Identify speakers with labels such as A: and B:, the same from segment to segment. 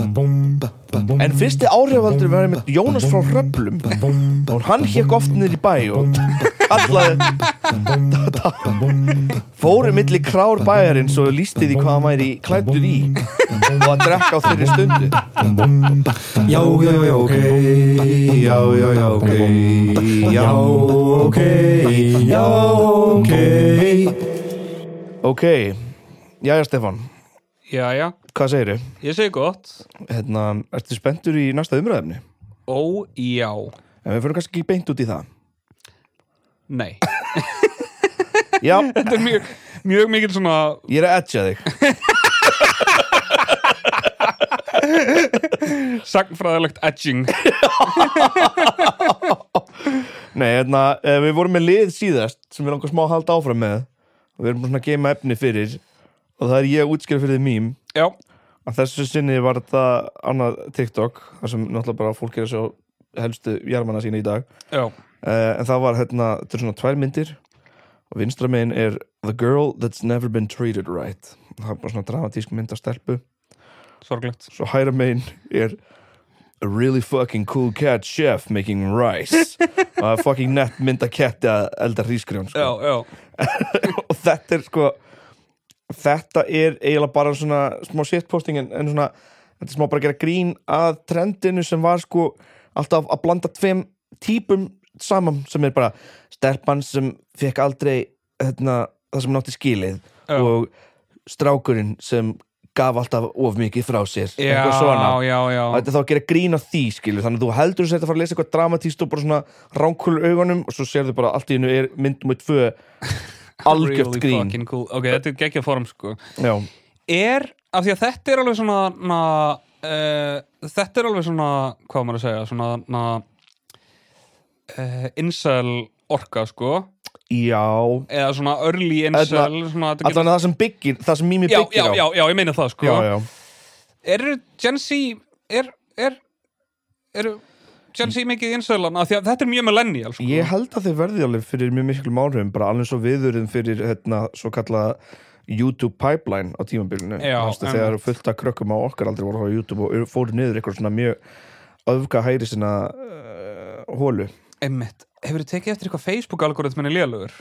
A: En fyrsti áhrifaldur var einmitt Jónas frá Hröplum og hann hékk oft niður í bæ og kallaði fóru milli krár bæjarins og lísti því hvað hann væri klættur í og að drekka á þeirri stundu
B: Já, já, já, ok Já, já, já, ok Já, ok Já, ok
A: Ok, jæja Stefan,
C: Já, já,
A: hvað segiru?
C: ég segi gott
A: Hérna, ertu spenntur í næsta umræðumni?
C: Ó, já,
A: En við fyrir kannski ekki beint út í það
C: nei
A: Já,
C: Þetta er mjög, mjög mikil svona
A: ég er að edja þig
C: sagnfræðilegt edging
A: Nei, hérna, eh, við vorum með lið síðast sem við langar smá að halda áfram með og við erum svona að geima efni fyrir og það er ég að útskýra fyrir því mím
C: Já,
A: að þessu sinni var þetta annað TikTok, þar sem náttúrulega bara fólk er að sjá helstu jarmanna sína í dag
C: já,
A: uh, en það var hérna, þetta er svona tvær myndir og vinstra megin er The Girl That's Never Been Treated Right það er bara svona dramatísk mynd að stelpu
C: sorglegt
A: svo hæra megin er A really fucking cool cat chef making rice og það er fucking nett mynd að ketti að elda hrískrjón sko.
C: Já, já,
A: og þetta er sko þetta er eiginlega bara svona smá shitposting en, en svona þetta er smá bara að gera grín að trendinu sem var sko alltaf að blanda tveim típum saman sem er bara stelpan sem fekk aldrei hérna, það sem nátti skilið
C: Já.
A: og strákurinn sem gaf alltaf of mikið frá sér
C: já,
A: eitthvað svona
C: já, já
A: og þetta er þá að gera grín að því skilur þannig að þú heldur þess að þetta fara að lesa eitthvað dramatíst og bara svona ránkúlur augunum og svo sérðu bara allt í hennu er myndum eitt tvö algjört
C: Really
A: grín
C: fucking cool Ok, þetta er geggja form sko
A: já,
C: Er, af því að þetta er alveg svona na, uh, Þetta er alveg svona, hvað á maður að segja Svona, na uh, Incel orka sko
A: já
C: Eða svona early incel svona, þetta
A: allan að það sem byggir, það sem mými
C: Já, já,
A: byggir á
C: já, já, ég meina það sko
A: já, já.
C: eru Gen Z er, er, eru Gen Z mikið innsöðlan af því að þetta er mjög millennial sko.
A: ég held að þið verði alveg fyrir mjög miklum áhrifum bara alveg svo viðurðum fyrir hérna, svo kallað YouTube pipeline á tímabilinu
C: Já,
A: Manstu þegar
C: einmitt.
A: fullt af krökkum á okkar aldrei voru á YouTube og fóru niður eitthvað svona mjög eh, öfga hæri sinna hólu
C: einmitt, hefur þið tekið eftir eitthvað Facebook algoritmin er lélugur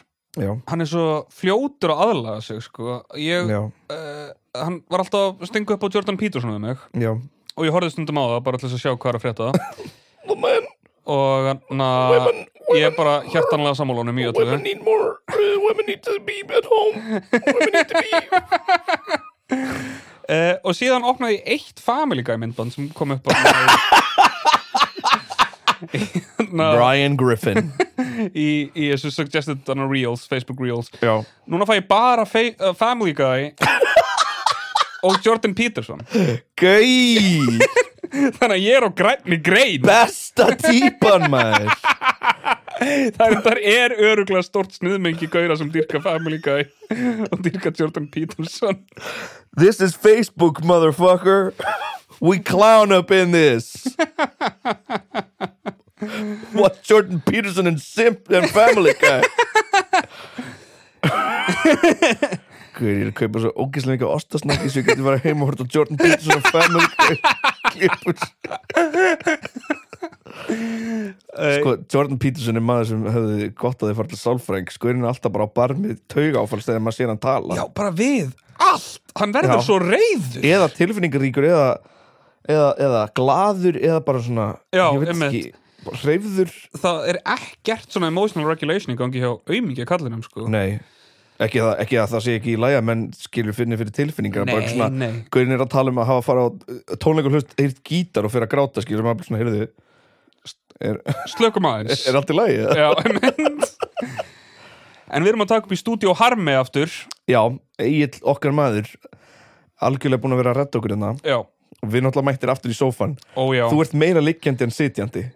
A: já,
C: hann er svo fljótur að aðlaga sig sko. ég,
A: já,
C: uh, hann var alltaf að stinga upp á Jordan Peterson við mig
A: já
C: og ég horfði stundum á það bara til þess að sjá hvað er að frétta og hann ég er bara hjertanlega sammálunum í öllu
A: need more uh, women need to be at home women need to be
C: Uh, og síðan opnaði ég eitt Family Guy myndband sem kom upp á Ná,
A: Brian Griffin
C: í, í þessu suggested on a reels, Facebook reels
A: já,
C: núna fæ ég bara fe, uh, Family Guy og Jordan Peterson
A: gau
C: þannig að ég er á grænni grein
A: besta típan maður
C: þar er öruglega stort sniðmengi gauðra sem dýrka Family Guy og dýrka Jordan Peterson
A: this is Facebook motherfucker we clown up in this what Jordan Peterson and Simp and Family Guy Guð, ég er að kaupa svo ógislega ekki ostasnakki sem ég geti bara heim og horta Jordan Peterson og Family Guy klippur Sko, Jordan Peterson er maður sem hefði gott að þið fara til sálfræng sko er hann alltaf bara á barmið taugafalls þegar maður sér hann tala
C: já, bara við, allt hann verður
A: Já.
C: svo reyður
A: eða tilfinningaríkur eða, eða, eða glaður eða bara svona
C: Já,
A: ég veit
C: einmitt.
A: ekki, bara hreyfður
C: það er ekkert svona emotional regulation í gangi hjá auðmingja kallinum sko
A: nei, ekki að, ekki að það sé ekki í læja menn skilur finni fyrir tilfinningar
C: Nei,
A: bara svona,
C: nei.
A: gaurin er að tala um að hafa að fara á tónleikur hlust, heyrt gítar og fyrir að gráta skilur maður bara svona, heyrðu er,
C: slökum aðeins
A: er allt í lægi?
C: Já, einmitt. en við erum að taka upp í stúdíu Harmi aftur
A: Já, Egill okkar maður algjörlega búin að vera að redda okkur hérna
C: já,
A: og við náttúrulega mættir aftur í sófan
C: ó já
A: þú ert meira liggjandi en sitjandi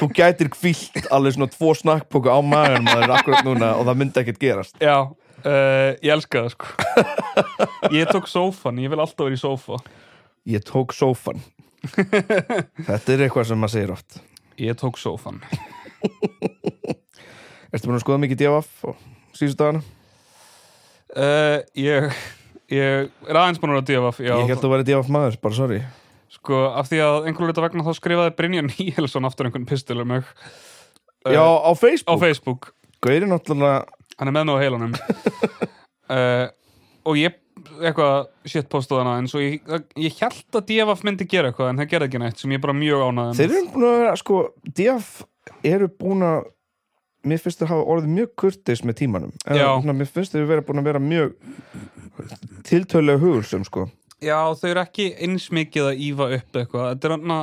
A: þú gætir kvílt alveg svona tvo snakkpóka á maður maður akkurat núna og það myndi ekkert gerast
C: já, uh, ég elska það sko ég tók sófan, ég vil alltaf vera í sófa
A: ég tók sófan þetta er eitthvað sem maður segir oft
C: ég tók sófan
A: ertu búin að skoða mikið djafaf og síðustu dagana
C: uh, Eh, ég, ég er aðeins búin að djöfa já,
A: Ég held að vera divaf maður, bara sorry
C: sko, af því að einhverju luta vegna þá skrifaði Brynja Níelsson aftur einhvern pistil um mig Eh,
A: Já, á
C: á
A: Facebook,
C: Facebook
A: Gauri náttúrulega
C: hann er með mig á heilanum uh, og ég eitthvað shit postaði hana eins og ég, ég held að DFF myndi gera eitthvað en það gerði ekki neitt sem ég er bara mjög ánaði
A: Þeir eru búin að vera, sko, DF eru búin að Mér finnst þeir hafa orðið mjög kurtis með tímanum Eða,
C: Já.
A: svona, Mér finnst þeir vera búin að vera mjög Tiltölulega hugulsum, sko
C: já þau eru ekki eins mikið að ífa upp eitthvað þetta er hann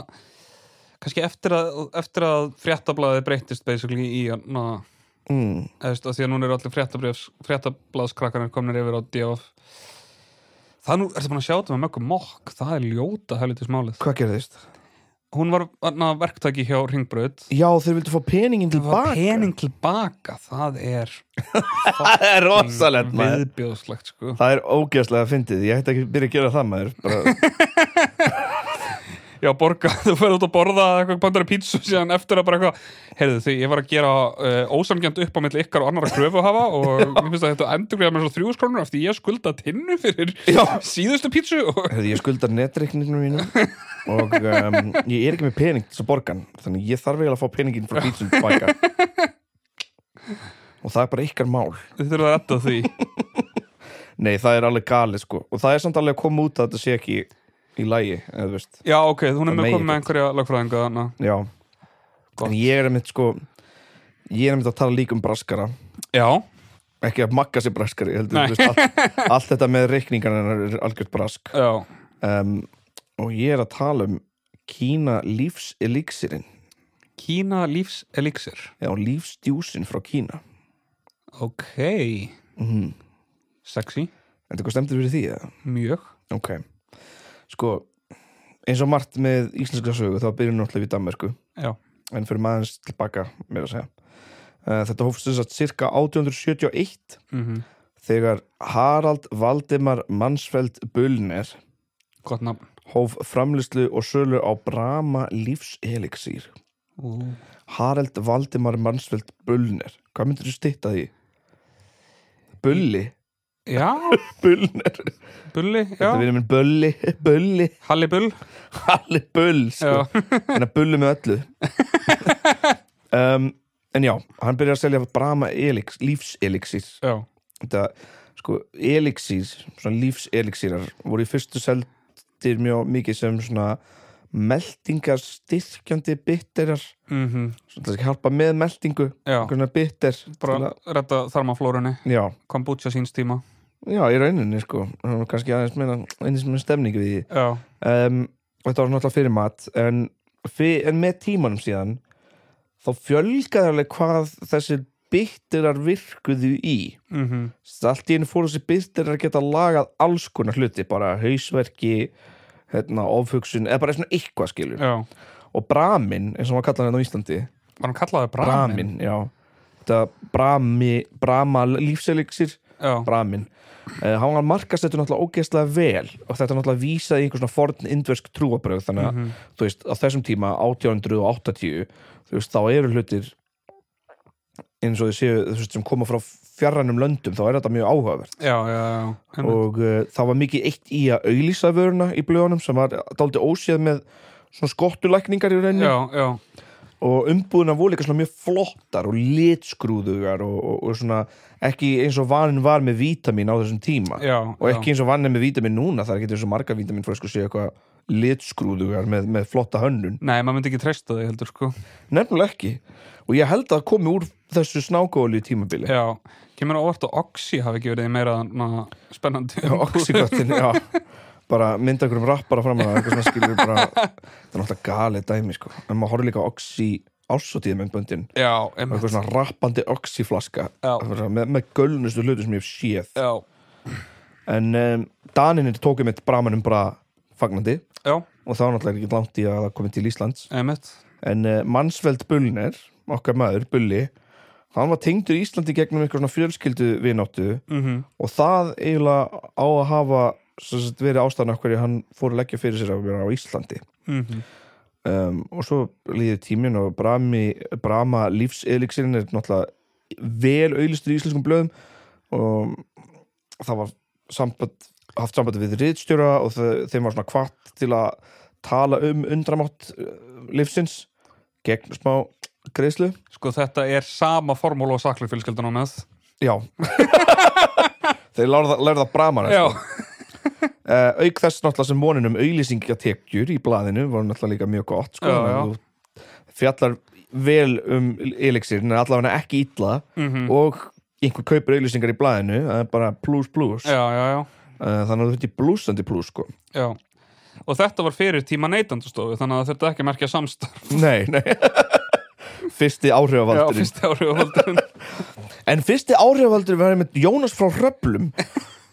C: kannski eftir að, eftir að fréttablaði breytist basically í hann að
A: mm.
C: eðst, því að núna eru allir fréttablaðs, fréttablaðskrakkanir komnir yfir á DFF það nú, ertu búin að sjá þetta með mögum mokk það er ljóta helvitis málið
A: Hvað gerðist?
C: hún var na, verktaki hjá Ringbraut
A: Já, þeir vildu fá peningin
C: Það var
A: tilbaka
C: pening tilbaka, það er
A: Það er rosalegt, maður
C: viðbjóðslegt sko.
A: Það er ógeðslega fyndið, ég ætti ekki að byrja að gera það maður bara,
C: Já, borga, þú ferð út að borða eða eitthvað, bandar að pítsu síðan eftir að bara eitthvað heyrðu því, ég var að gera uh, ósangjant upp á milli ykkar og annara kröfu hafa og mér finnst að þetta endurgriða með svo þrjúskrónur af því ég skulda tinnu fyrir síðustu pítsu og
A: Hefði ég skuldar netreikninginu mínu og um, ég er ekki með pening til þess að borgan þannig ég þarf eiginlega að fá peningin frá pítsun tilbaka og það er bara ykkar mál
C: þið þurfum að retta því
A: Nei, það er alveg galið sko og það er samt alveg að koma út að þetta sé ekki í lægi, eða þú veist
C: Já, ok, hún
A: Það
C: er með
A: megi
C: komið með einhverja lagfræðinga þarna
A: Já,
C: Gott.
A: en ég er einmitt sko ég er einmitt að tala líka um braskara
C: Já,
A: ekki að makka sér braskari heldur,
C: Nei.
A: þú veist, allt, allt þetta með reikningarna er algjört brask
C: já,
A: um, og ég er að tala um Kína lífselixirinn
C: Kína lífs elixir
A: já, lífsdjúsin frá Kína
C: Ok,
A: mm.
C: sexy,
A: en þetta hvað stemdur fyrir því eða?
C: mjög
A: ok, sko eins og margt með íslenska sögu þá byrjum við náttúrulega við Danmerku
C: Já,
A: en fyrir maður tilbaka mér að segja Eh, þetta hófst þess að cirka 1871
C: mm
A: þegar Harald Valdimar Mansfeld Bullner
C: gott nafn
A: hóf framlýslu og sölu á Brahma lífseliksýr
C: Ú.
A: Harald Valdimar Mansfeld Bullner hvað myndir þú stýtta því? Bulli
C: Já,
A: Bullner
C: Bulli,
A: þetta
C: já,
A: vinur minn Bulli Bulli
C: Halli Bull
A: Halli Bull sko.
C: já.
A: en að Bulli með öllu um, en já hann byrjar að selja Brahma elix, lífseliksýr
C: já,
A: þetta sko elixir svona lífselixirar voru í fyrstu seldir mjög mikið sem svona meldingar styrkjandi bitterar
C: mhm,
A: svona til að hjálpa með meldingu
C: já
A: einhvern veginn bitter
C: bara redda þarmaflórunni
A: já,
C: kombucha síns tíma
A: já, í rauninni sko Það var kannski aðeins meina eins með stemningu við því
C: já,
A: um, þetta var náttúrulega fyrir mat en, fyr, en með tímanum síðan þá fjölgaði alveg hvað þessi bitterar virkuðu í
C: mhm,
A: Svo allt í einu fóru þessi byrtir að geta lagað alls konar hluti, bara hausverki hérna, ofhugsun, eða bara svona eitthvað skilur,
C: já
A: og bramin eins og maður kallar hérna á Íslandi,
C: var hann kallaði Bramin?
A: bramin, já þetta brami, brama lífseliksir,
C: já,
A: bramin uh, hann var markast þetta náttúrulega ógeðslega vel og þetta náttúrulega vísaði í einhver svona forn indversk trúabröð, þannig að þú veist, á þessum tíma 1880 þú veist, þá eru hlutir eins og þið séu, þú veist, sem koma frá fjarrænum löndum, þá er þetta mjög áhugavert
C: já, já, já Einmitt.
A: og uh, það var mikið eitt í að auglýsa vöruna í blöðunum sem var dálítið óséð með svona skottulækningar í rauninni
C: já, já,
A: og umbúðuna voru líka svona mjög flottar og litskrúðugar og, og, og svona ekki eins og vaninn var með vítamin á þessum tíma
C: já
A: og ekki
C: já.
A: eins og vaninn er með vítamin núna það er ekki eins og marga vítamin fyrir að séu eitthvað litskrúðugar með, með flotta hönnun
C: nei, maður myndi ekki treysta þig heldur sko
A: nefnilega ekki og ég held að það komi úr þessu snákóli tímabili
C: já, kemur á óvart að Oxy hafi ekki verið í meira na, spennandi
A: Já, oxykotin, já bara mynda einhverjum rappara fram að eitthvað svona skilur bara, það er náttúrulega galið dæmi sko, en maður horfir líka á oxy ásótíð með böndin,
C: já,
A: og
C: einmitt
A: eitthvað svona rappandi oxyflaska,
C: Já.
A: Það var svona með, með gölnustu hlutu sem ég hef séð,
C: já,
A: en um, Daninir tók einmitt bramanum bara fagnandi
C: já,
A: og þá náttúrulega ekki langt í að það komið til Íslands
C: einmitt
A: en uh, Mansfeld Bullner, okkar maður Bulli, hann var tengdur í Íslandi gegnum eitthvað svona fjölskyldu vináttu
C: mhm,
A: og það eiginlega á að hafa sem sagt, verið ástæðan af hverju hann fór að leggja fyrir sér að vera á Íslandi
C: mhm,
A: um, og svo líður tíminn og Brami, Brama lífselixirinn er náttúrulega vel auðlistur í íslenskum blöðum og það var samband haft sambandi við riðstjóra og þe- þeim var svona kvart til að tala um undramátt uh, lífsins gegn smá greiðslu
C: Sko þetta er sama formúla og saklu fjölskyldan á með
A: Já Þeir lærða, lærða bramar
C: Já,
A: uh, Eh, Auk þess náttúrulega sem vonin um auðlýsingatekjur í blaðinu var náttúrulega líka mjög gott sko,
C: Já,
A: þannig að þú Fjallar vel um elixir en allavega ekki illa
C: Mhm.
A: og einhver kaupir auðlýsingar í blaðinu það er bara plus plus
C: já, já, já,
A: uh, þannig að þú þetta er blúsandi plus sko
C: já Og þetta var fyrir tíma neytandustofu þannig að þetta ekki að merkja samstarf
A: Nei, nei Fyrsti
C: Já,
A: áhrifavaldurinn
C: fyrsti ári og valdurinn
A: En fyrsti áhrifavaldurinn var með Jónas frá Röplum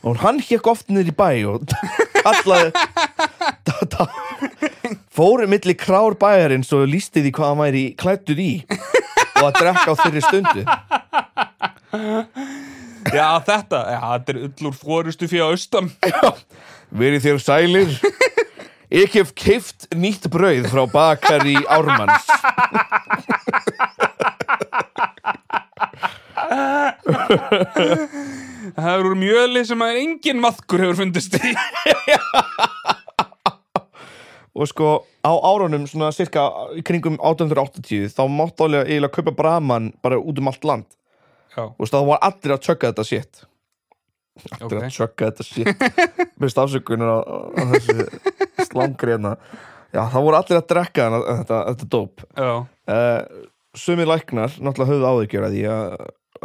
A: og hann hékk oft niður í bæ og kallaði ta- ta- fóru milli krár bæjarins og lísti því hvað hann væri klættur í og að drekka á þeirri stundu
C: Já, þetta, já, þetta er ullur fórustu fyrir austan
A: Verið þér sælir Ekki hef keift nýtt brauð frá bakar í Ármanns
C: Það eru úr mjöli sem að engin maðkur hefur fundist í
A: og sko á árunum svona cirka í kringum 1880 þá mátt alveg eiginlega kaupa braman bara út um allt land
C: Já,
A: og þá var allir að tjögga þetta shit allir
C: Ok.
A: að tjögga þetta shit mest afsökunar á, á þessu slangri hérna já þá voru allir að drekka hana, eh, þetta, þetta dóp
C: já,
A: uh, sumir læknar náttúrulega höfðu áðurgjör að því að,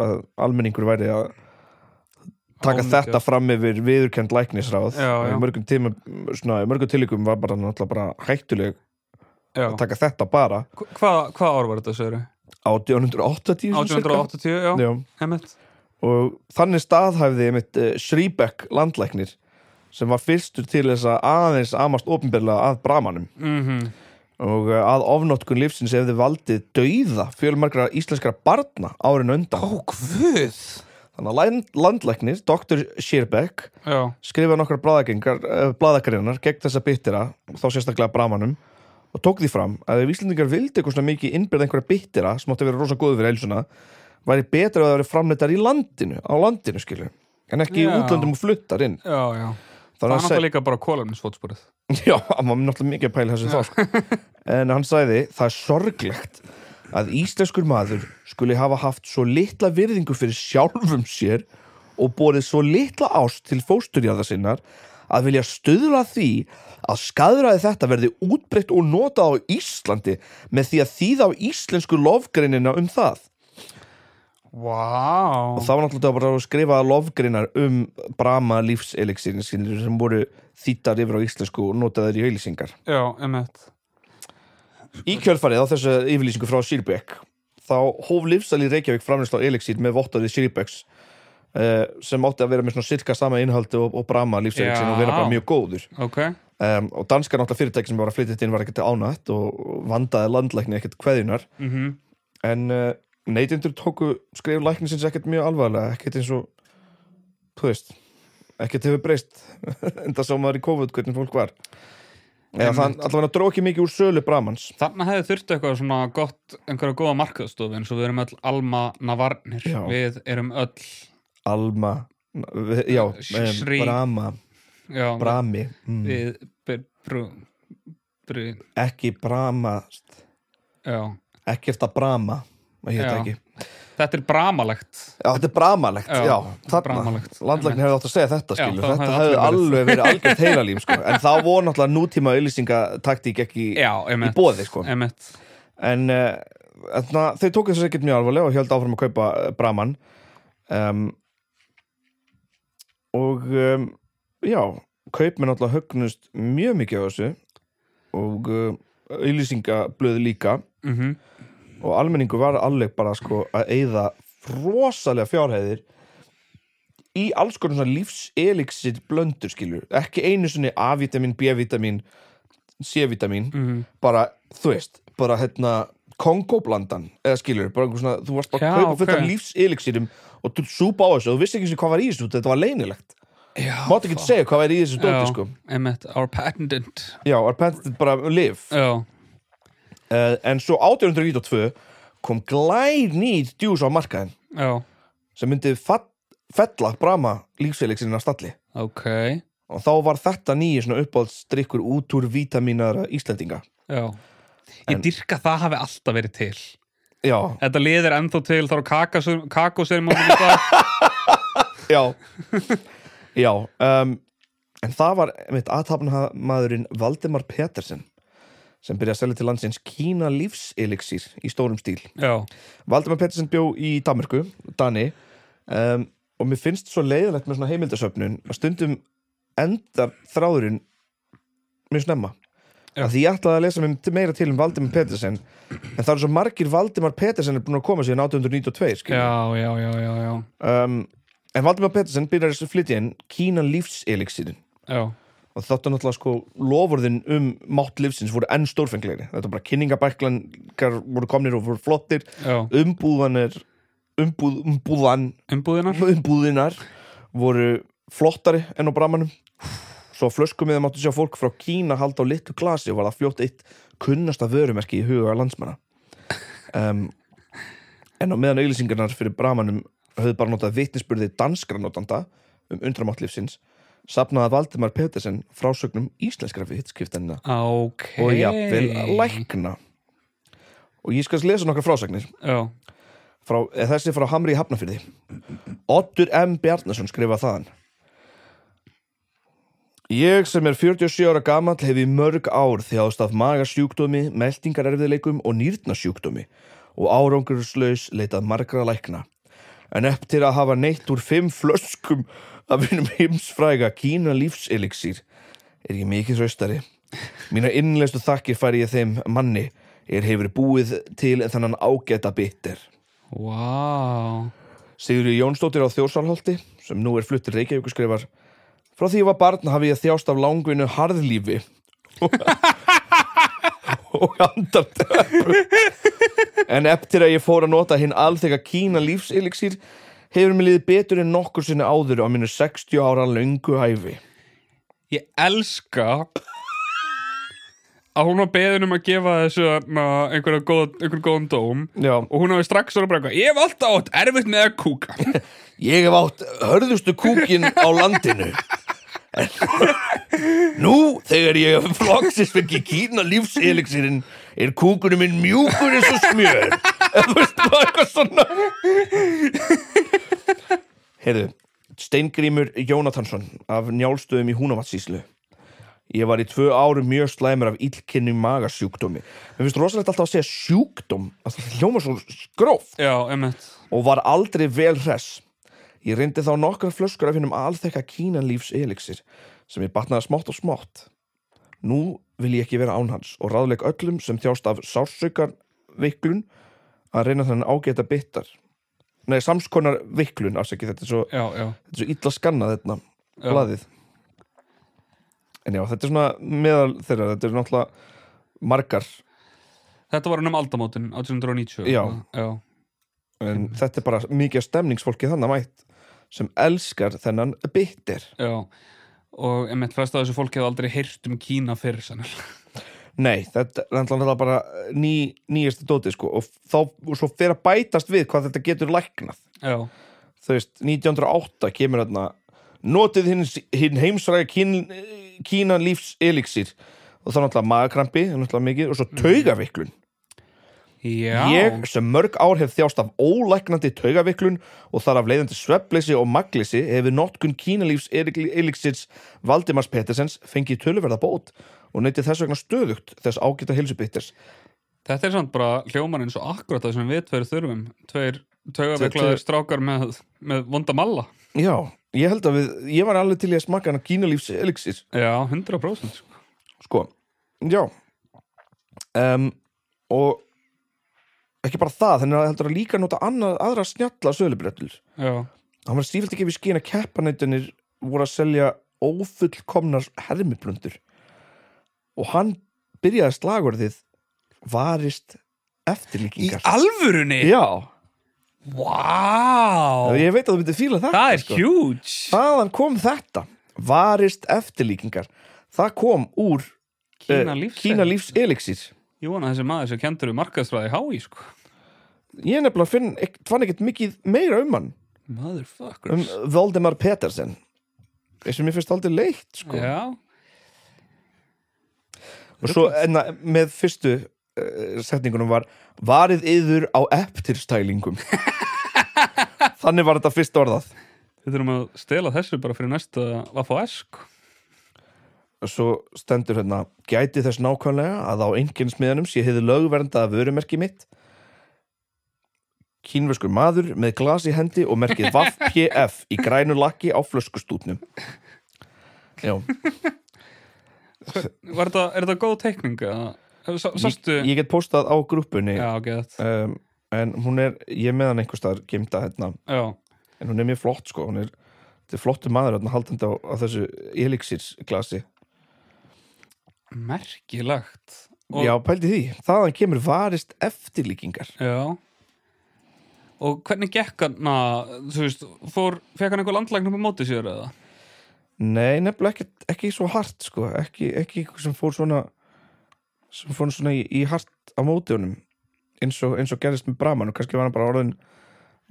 A: að almenningur væri að taka
C: Ómikið.
A: þetta fram yfir viðurkend læknisráð
C: Já, já.
A: í mörgum, tíma, svona, í mörgum tilíkum var bara náttúrulega bara hættuleg
C: já
A: að taka þetta bara
C: Hva- Hvað hva ár var þetta, Söru?
A: 1880 svona cirka.
C: 1880, já,
A: Já.
C: einmitt
A: og þannig staðhæfði einmitt uh, Shriebeck landlæknir sem var fyrstur til þess að aðeins amast ofinbjörlega að bramanum
C: mm
A: og uh, að ofnótkun lífsins hefði valdið dauða fjölmargra íslenskra barna árin á undan
C: Ó, guð
A: þannig að land, landlæknir, Dr. Shriebeck
C: Já,
A: skrifaði nokkar bræðagreinar, bræðagreinar gegn þessa byttira, þá sérstaklega bramanum og tók því fram að ef Íslandingar vildi eitthvað svona mikið innbyrða einhverja byttira sem átti að vera rosa góðu fyrir eilsuna væri betra að það væri framleitar í landinu á landinu skilju, en ekki
C: Já.
A: í útlöndum og fluttar inn
C: já, já Það er
A: þannig að
C: náttúrulega
A: seg...
C: líka bara kólumisfótsporið
A: Já, hann var náttúrulega mikið að pæla þessu þá sko. en hann sagði, það er sorglegt að íslenskur maður skuli hafa haft svo litla virðingu fyrir sjálfum sér og borið svo litla ást til fósturjarða sinnar að vilja stöðla því að skadraði þetta verði útbreytt og notað á Íslandi með því að þýða á íslensku lofgreinina um það
C: Vá
A: og það var náttúrulega bara að skrifa lofgreinar um brama lífselixirin sem voru þýttar yfir á íslensku og notaðar í auðlýsingar
C: Já, einmitt
A: Í kjölfarið á þessu yfirlýsingu frá Sirbeck þá hóf Livsal í Reykjavík framlýsla á elixir með vottaði Sirbecks uh, sem átti að vera með svona sirka sama innhaldi og, og brama lífselixir
C: Já.
A: og vera bara mjög góður
C: Ok,
A: um, og danska náttúrulega fyrirtæki sem var að flytja inn var ekkert ánætt og og vandaði landlækni ekkert kveðjunar
C: mhm
A: en uh, neytendur tóku skrif læknisins ekkert mjög alvarlega ekkert eins og þú veist, ekkert hefur breyst en það sá maður í COVID hvernig fólk var eða það allavega dró ekki mikið úr sölu bramans
C: Þarna hefði þurfti eitthvað svona gott, einhverja góða markaðstofu eins og við erum öll alma navarnir
A: Já.
C: Við erum öll,
A: Alma na- Já, em,
C: Eh, Shri.
A: Brahma
C: já,
A: Brahmi mm.
C: við, br, brú, brú,
A: Ekki Brahma
C: já
A: Ekkert að Brahma Það hét
C: Já.
A: ekki.
C: Þetta er bramalegt
A: Já, þetta er bramalegt,
C: Já,
A: já, þarna
C: bramalegt.
A: Landlæknir hefði átt að segja þetta,
C: Já,
A: skilur
C: það
A: Þetta
C: hefði
A: hefði
C: allir
A: alveg verið algjörð heilalím, sko En þá voru náttúrulega nútíma auðlýsingataktík ekki
C: Já, einmitt
A: í boði, sko
C: Einmitt,
A: En uh, þarna, þau tóku þessu ekkert mjög alvarlega og held áfram að kaupa uh, Brahman um, Og um, já, kaupmenn náttúrulega högnust mjög mikið á þessu og uh, auðlýsingablöð líka
C: mhm
A: og almenningu var alveg bara sko að eyða rosalega fjárhæðir í alls konar svona lífselixir blöndur skilur ekki einu svona A-vitamin, B-vitamin C-vitamin
C: Mhm.
A: bara, þú veist, bara hérna Kongoblandan, eða skilur bara einhver svona, þú varst bara
C: Já,
A: að kaupa fullt af
C: ok.
A: lífselixirum og þú súpa á þessu og þú vissi ekki einu sinni hvað var í þessu þetta var leynilegt,
C: Já,
A: máttu ekki segja hvað var í þessu dóti sko,
C: einmitt, our patented
A: já, er pentið bara liv
C: Já,
A: uh, en svo 1892 kom glæð nýð djús á markaðin
C: já,
A: sem myndi fall, fella brama lífsfélagsinn af stalli
C: ok
A: og þá var þetta nýju svona uppáhaldsdrykkur út úr vítaminara Íslendinga
C: já. Ég
A: En-
C: dyrka að það hafi alltaf verið til
A: já,
C: Þetta liðir ennþá til þar á kakasum- kakóserimónum í dag.
A: já já um, en það var mitt aðtapnamaðurinn Valdemar Petersen sem byrjaði að selja til landsins Kína lífseliksir í stórum stíl
C: Já,
A: Valdemar Pettersen bjó í Danmörku Dani um, og mér finnst svo leiðilegt með svona heimildasöfnun að stundum endar þráðurinn mjög snemma
C: Já.
A: að því ég ætlaði að lesa mér meira til um Valdemar Pettersen en það eru svo margir Valdemar Pettersen er búin að koma síðan 1892 skilur.
C: já, já, já, já, já.
A: um, en Valdemar Pettersen byrjar þessu flytja inn Kína lífseliksirin
C: já.
A: og þáttu náttúrulega sko lofurðin um mátt lífsins voru enn stórfenglegri þetta var bara kynningabæklingar voru komnir og voru flottir
C: já.
A: umbúðanir umbúð, umbúðan,
C: Umbúðinar?
A: umbúðinar voru flottari enn á bramanum svo á flöskum við máttu sjá fólk frá Kína halda á litlu glasi og var það fljótt eitt kunnasta vörumerki í huga landsmanna um, en á meðan auglýsingarnar fyrir bramanum höfðu bara notað vitnisspurði danskra notanda um undramátt lífsins sapnaði Valdimar Petersen frásögnum íslenskra vitskiptanina
C: Ok.
A: og jafnvel lækna og ég skal lesa nokkra frásagnir
C: Já,
A: frá, eða þessi frá Hamri í Hafnafyrði Oddur M. Bjarnason skrifa þaðan Ég sem er 47 ára gamall hef í mörg ár þjáðst af magasjúkdómi, meltingarerfiðleikum og nýrnasjúkdómi og árangurslaus leitað margra lækna. En eftir að hafa neitt úr fimm flöskum af hinum heimsfræga kína lífseliksir er ég mikið raustari. Mína innlestu þakkir færi ég þeim manni er hefur búið til þannan ágæta bitter.
C: wow.
A: Sigurður Jónsdóttir á Þjórsalholti sem nú er flutt til Reykjavík og skrifar Frá því ég var barn hafi ég þjást af langvinu harðlífi og andartöfum en eftir að ég fór að nota hinn alþega kína lífseliksir hefur mér liðið betur en nokkur sinni áður á mínu 60 ára löngu hæfi
C: Ég elska að hún var beðin um að gefa þessu na, einhverja góð, einhverjum góðan dóm
A: Já,
C: og hún hafi strax orðið bara eitthvað Ég hef alltaf átt erfitt með að kúka
A: ég hef átt hörðustu kúkin á landinu en nú þegar ég flokksist fengi kína lífseliksirinn er kúkunum minn mjúkur eins og smjör eða þú veist bara eitthvað svona heyrðu Steingrímur Jónatansson af njálstöðum í Húnavatsíslu Ég var í tvö árum mjög slæmur af illkynni magasjúkdómi. Mér finnst rosalegt alltaf að segja sjúkdóm, að það hljóma svo gróft
C: Já, emmett
A: og var aldrei vel hress. Ég reyndi þá nokkra flöskur af hinnum alþekka kínanlífs eliksir sem ég batnaði smátt og smátt. Nú vil ég ekki vera án hans og ráðleik öllum sem þjást af sársaukarviklun að reyna þannig ágæta bitar. Nei, samskonar viklun, afsaki, þetta er svo,
C: Já, já,
A: þetta er svo illa skannað þetta,
C: Já.
A: blaðið. En já, þetta er svona meðal þeirra, þetta er náttúrulega margar,
C: þetta var hann um aldamótin 1890
A: Já.
C: já,
A: en þetta er bara mikið af stemningsfólki þannig mætt sem elskar þennan bitter.
C: já. Og emmett, flest af þessu fólk hefði aldrei heyrt um Kína fyrr sannig
A: Nei, þetta er náttúrulega bara eh, ný, nýjasta dótið sko og þá og svo fer að bætast við hvað þetta getur læknað
C: Já,
A: þú veist, 1908 kemur þarna notið hinn, hinn heimsræga kín, kína lífs eliksir og þá náttúrulega magakrampi náttúrulega mikið, og svo taugaviklun
C: já
A: ég sem mörg ár hef þjást af ólæknandi taugaviklun og þar af leiðandi sveppleysi og magleysi hefur notkun kínalífs eliksirs Valdimars Petersens fengið töluverða bót og neytið þess vegna stöðugt þess ágæta hilsubitters
C: Þetta er samt bara hljóman eins og akkurat það sem við tveir þurfum Tveir taugaveklaðir strákar með, með vonda malla
A: Já, ég held að við, ég var alveg til í að smaka hana kínalífs elixir,
C: Já, 100% sko.
A: sko Já um, Og ekki bara það, þannig að heldur að líka nota annað, aðra snjalla sölubröllur
C: Já,
A: Hann var stífilt ekki við skýn að keppanætunir voru að selja ófullkomnar hermiplundur og hann byrjaði slagurðið varist
C: Í
A: eftirlíkingar
C: alvörunni?
A: Já,
C: Vá!
A: ég veit að þú myndir fíla þetta
C: það er
A: sko.
C: huge!
A: Þaðan kom þetta Varist eftirlíkingar Það kom úr
C: Kína
A: eh,
C: lífs-
A: Kína lífs eliksir
C: Ég vona að þessi maður sem kendur við markaðsfræði hái, sko.
A: Ég nefnilega finn, ek- fann ekkert mikið meira um hann
C: Motherfuckers.
A: Um Voldemar Petersen sem mér finnst aldrei leitt sko.
C: Já,
A: og svo enna, með fyrstu uh, setningunum var varið yður á eftirstælingum þannig var þetta fyrst orðað
C: við þurfum að stela þessu bara fyrir næsta VFS sko.
A: svo stendur hérna gæti þess nákvæmlega að á enginn smiðanum sé hefði lögvernda að vörumerki mitt kínverskur maður með glas í hendi og merkið VAF-PF í grænu lakki á flöskustútnum já,
C: Var þetta, er þetta góð teikning? eða? Sá- Sástu?
A: ég, ég get postað á grúppunni
C: Já, gett
A: um, en hún er, ég er með hann einhvers staðar gemda hérna,
C: Já,
A: en hún er mjög flott sko, hún er, þetta er flottur maður hérna haldandi á, á þessu elixirsglasi
C: merkilegt Og-
A: já, pældi því, þaðan kemur varist eftirlíkingar
C: Já Og hvernig gekk hann að, þú veist, fór, fekk hann einhver landlæknum á móti sér eða?
A: Nei, nefnilega ekki, ekki svo hart sko. ekki, ekki eitthvað sem fór svona sem fór svona í, í hart á móti honum eins og, eins og gerðist með braman og kannski var hann bara orðin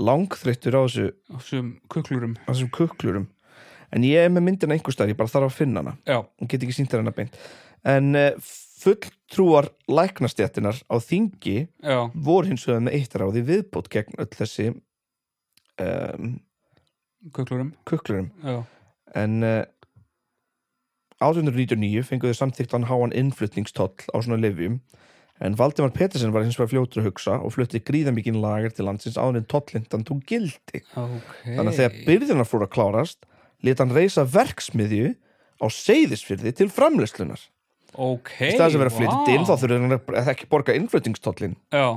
A: langþreyttur á þessu,
C: Á þessum kuklurum.
A: á þessum kuklurum en ég er með myndina einhvers staðar, ég bara þarf að finna hana
C: Já,
A: hún get ekki sýnt þér hana beint en eh, fulltrúar læknastjættinar á þingi
C: já,
A: voru hins vegar með eitt ráði viðbót gegn öll þessi um,
C: kuklurum,
A: kuklurum
C: já.
A: en uh, 1899 fenguðu samþyktan háan innflutningstoll á svona lifjum en Valdimar Petersen var hins vegar fljótur að hugsa og flutti gríðamikinn lagar til landsins áður en tollindan tók gildi
C: Ok.
A: þannig að þegar byrðinar fór að klárast let hann reysa verksmiðju á seyðisfyrði til framleyslunar
C: Ok,
A: í staðis að vera
C: vá.
A: flytjandi inn þá þurfur hann að- ekki borga innflutningstollin
C: Já,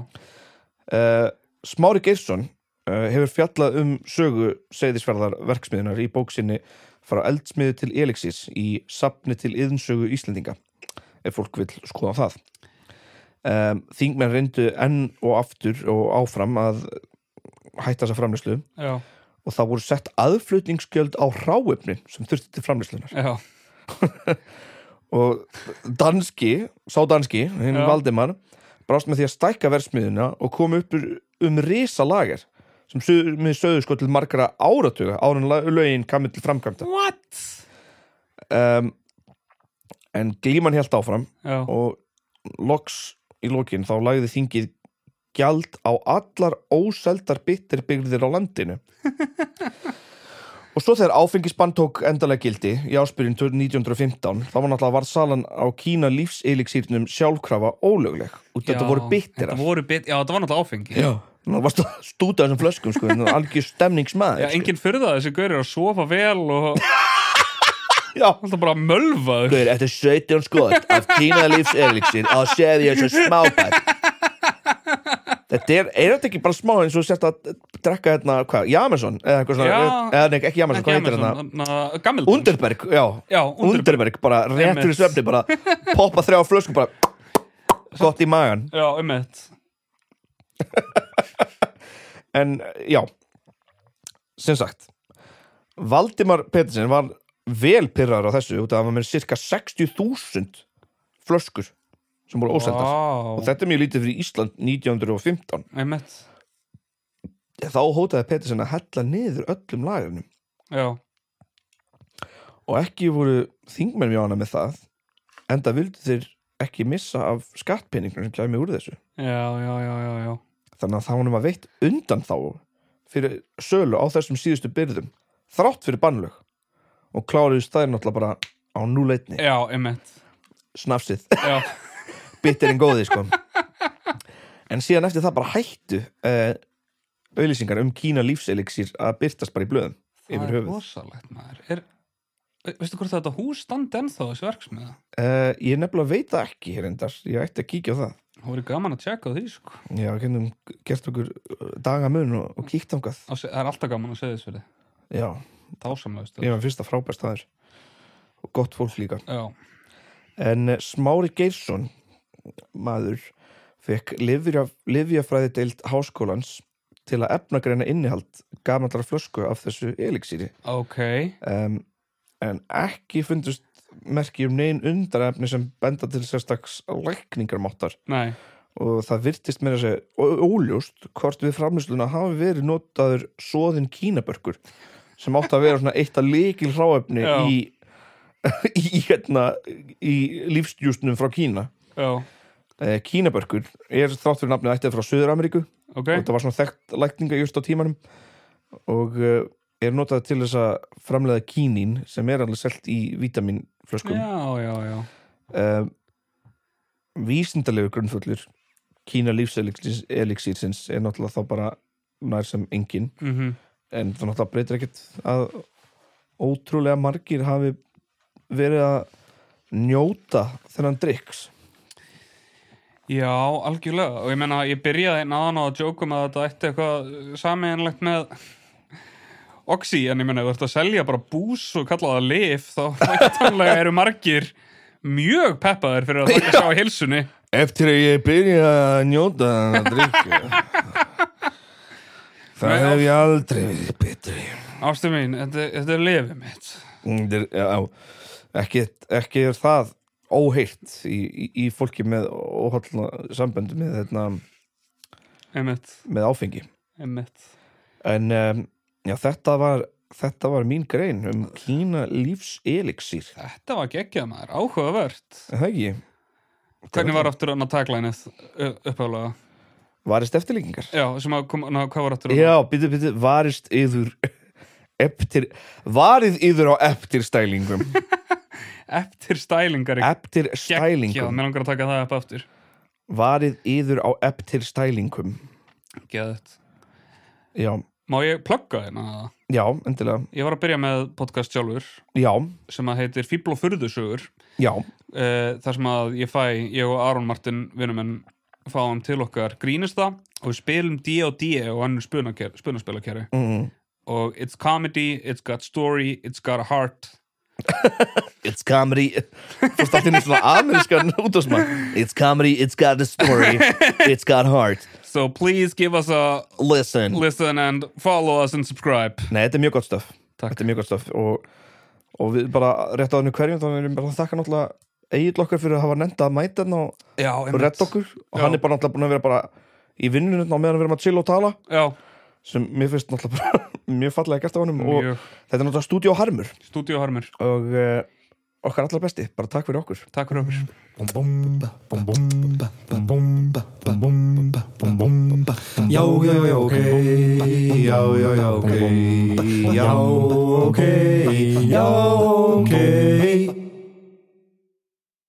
A: uh, Smári Geirsson uh, hefur fjallað um sögu segðisverðar verksmiðunar í bóksinni frá eldsmiðu til elixis í sapni til yðnsögu Íslendinga ef fólk vil skoða það um, Þingmenn reyndu enn og aftur og áfram að hætta þessa framlýslu
C: já,
A: og það voru sett aðflutningsgjöld á hráefnin sem þurfti til framlýslunar
C: já,
A: og danski, sá danski hinn
C: Já.
A: Valdimar, brást með því að stækka versmiðuna og kom upp úr- um risalager sem með sögðu sko til margra áratuga árun lögin kamið til framkvæmta
C: What?
A: um, en glíman helt áfram
C: Já,
A: og loks í lokin þá lagði þingið gjald á allar óseldar bitterbyrðir á landinu og svo þegar áfengisbann tók endalega gildi í áspyrjun 1915 þá var náttúrulega varðsalan á Kína lífseiliksýrnum sjálfkrafa ólögleg út
C: já.
A: þetta voru bitterar
C: Þetta voru bit, já, þetta var náttúrulega áfengi.
A: já, það var stútað þessum flöskum sko, þetta var algjör stemningsmaður
C: Já, enginn fyrða þessi gaur er að sofa vel og
A: sko. já,
C: alltaf bara mölvaður.
A: Guður, þetta er 17 skot af Kína lífseliksir á séði eins og smábætt Þetta er, er þetta ekki bara smá eins og sérst að drekka hérna, hvað, Jameson eða eitthvað svona,
C: Já.
A: eða nei, ekki Jameson,
C: Ekki
A: hvað heitir
C: Amazon,
A: hérna
C: þarna- Gamildans.
A: Underberg, já,
C: Já, Underberg.
A: Underberg bara réttur í
C: Einmitt.
A: svefni, bara poppa þrjá flösku, bara gott í magan
C: Já, um eitt.
A: en já sem sagt Valdimar Petersen var vel pyrraður á þessu út af að það var með cirka 60.000 flöskur sem voru óseldar
C: Vá,
A: og þetta er mjög lítið fyrir Ísland 1915
C: um
A: þá hótaði Petersen að hella niður öllum lagarinnum
C: Já,
A: og ekki voru þingmenn mjög hana með það enda vildu þeir ekki missa af skattpenningnum sem kæmi úr þessu
C: já, já, já, já, já.
A: þannig að þá honum var veitt undan þá fyrir sölu á þessum síðustu byrðum þrátt fyrir bannlög og kláriðist þær náttúrulega bara á núleitni
C: Já, emmett
A: snafsið,
C: Já,
A: bitterinn góði sko en síðan eftir það bara hættu uh, auðlýsingar um Kína lífseliksir að byrtast bara í blöðum
C: það
A: yfir
C: er
A: höfuð
C: rosalegt maður er, Veistu hvort þetta hús standi ennþá þessi verksmiða?
A: uh, ég nefnilega veit það ekki hérindar ég ætti að kíkja á það
C: Það voru gaman að tjekka á því sko.
A: já, við getum gert okkur eh, dagamun og, og kíkt ángað
C: Á se- Það er alltaf gaman að segja þessu fyrir
A: já,
C: Það ásamlegust
A: ég var fyrsta frábæst aður og gott fólk líka
C: Já,
A: En eh, Smári Geirsson, maður, fekk livja, livjafræði deild háskólans til að efnagreina innihald gamandara flösku af þessu eliksýri.
C: ok
A: Um, en ekki fundust merki um negin undarefni sem benda til sérstaks lækningarmáttar
C: Nei,
A: og það virtist meira að segja ó- óljóst hvort við framlýsluna hafi verið notaður soðin kínabörkur sem átti að vera svona eitt að leikil hráefni
C: Já.
A: í, í, hérna, í lífstjústnum frá Kína
C: já,
A: eh, Kínabörkur er þrátt fyrir nafnið ættið frá Suður-Ameríku
C: ok
A: og þetta var svona þekkt lækninga just á tímanum og eh, er notað til þess að framleiða kínín sem er alveg selt í vítaminflöskum
C: já, já, já,
A: um, vísindalegu grunnfullur Kína lífselixírsins er náttúrulega þá bara nær sem engin
C: mhm
A: en það náttúrulega breytir ekkert að ótrúlega margir hafi verið að njóta þennan drikks
C: Já, algjörlega og ég meina ég byrjaði náðan á að jóka með að þetta ætti eitthvað sameinlegt með Oxy en ég meina ef þú ert að selja bara bús og kalla það lif þá væntanlega eru margir mjög peppaðir fyrir að taka sá hilsunni
A: Eftir að ég byrja að njóta þennan drikk
C: Nei, hef
A: ég aldrei verið betri
C: Ástu mín, þetta, þetta er lifið mitt
A: Þeir, já, ekki, ekki er það óheilt í, í, í fólki með óhaldna samböndum með, hérna,
C: Einmitt,
A: með áfengi
C: einmitt
A: en um, já, þetta var þetta var mín grein um Kína lífs elixir
C: Þetta var geggjað maður, áhugavert
A: það ekki,
C: Hvernig var aftur hann að taglænið uppálega?
A: varist eftirlíkingar
C: Já, sem að kom, ná, hvað var aftur
A: já, býtu, býtu, varist yður eftir, varið yður á eftir stælingum
C: Eftir stælingar í
A: eftir
C: geggjað,
A: stælingum
C: mér langar að taka það upp aftur
A: varið yður á eftir stælingum
C: Geðið
A: já,
C: Má ég plugga hérna? það?
A: já, endilega
C: Ég var að byrja með podcast sjálfur
A: já,
C: sem að heitir Fíbl og Furðusugur
A: já,
C: uh, þar sem að ég fæ, ég og Aron Martin vinnumenn fáum til okkar grínista og við spilum D.O.D. og annur spunaspilakeri
A: mm.
C: og it's comedy, it's got story, it's got a heart
A: It's comedy Fórst allt inn í svona amerískan útásmann It's comedy, it's got a story It's got heart
C: so please give us a
A: Listen
C: listen and follow us and subscribe
A: Nei, þetta er mjög gott stöf
C: Takk.
A: Þetta er mjög gott stöf og, og við bara rétt á hennu hverjum Þannig erum bara að þakka náttúrulega Egil okkar fyrir að hafa nefnda að mæta hann og
C: Já,
A: redd okkur Og
C: Já.
A: hann er bara náttúrulega búin að vera bara í vinnunum á meðan við erum að chill og tala
C: Já,
A: sem mér finnst náttúrulega bara mjög fallega gert á honum og
C: mjög
A: þetta er náttúrulega stúdíó harmur
C: stúdíóharmur,
A: og uh, okkar allar besti, bara takk fyrir okkur
C: takk fyrir okkur
B: Já, já, já, ok Já, já, já, ok Já, ok Já, ok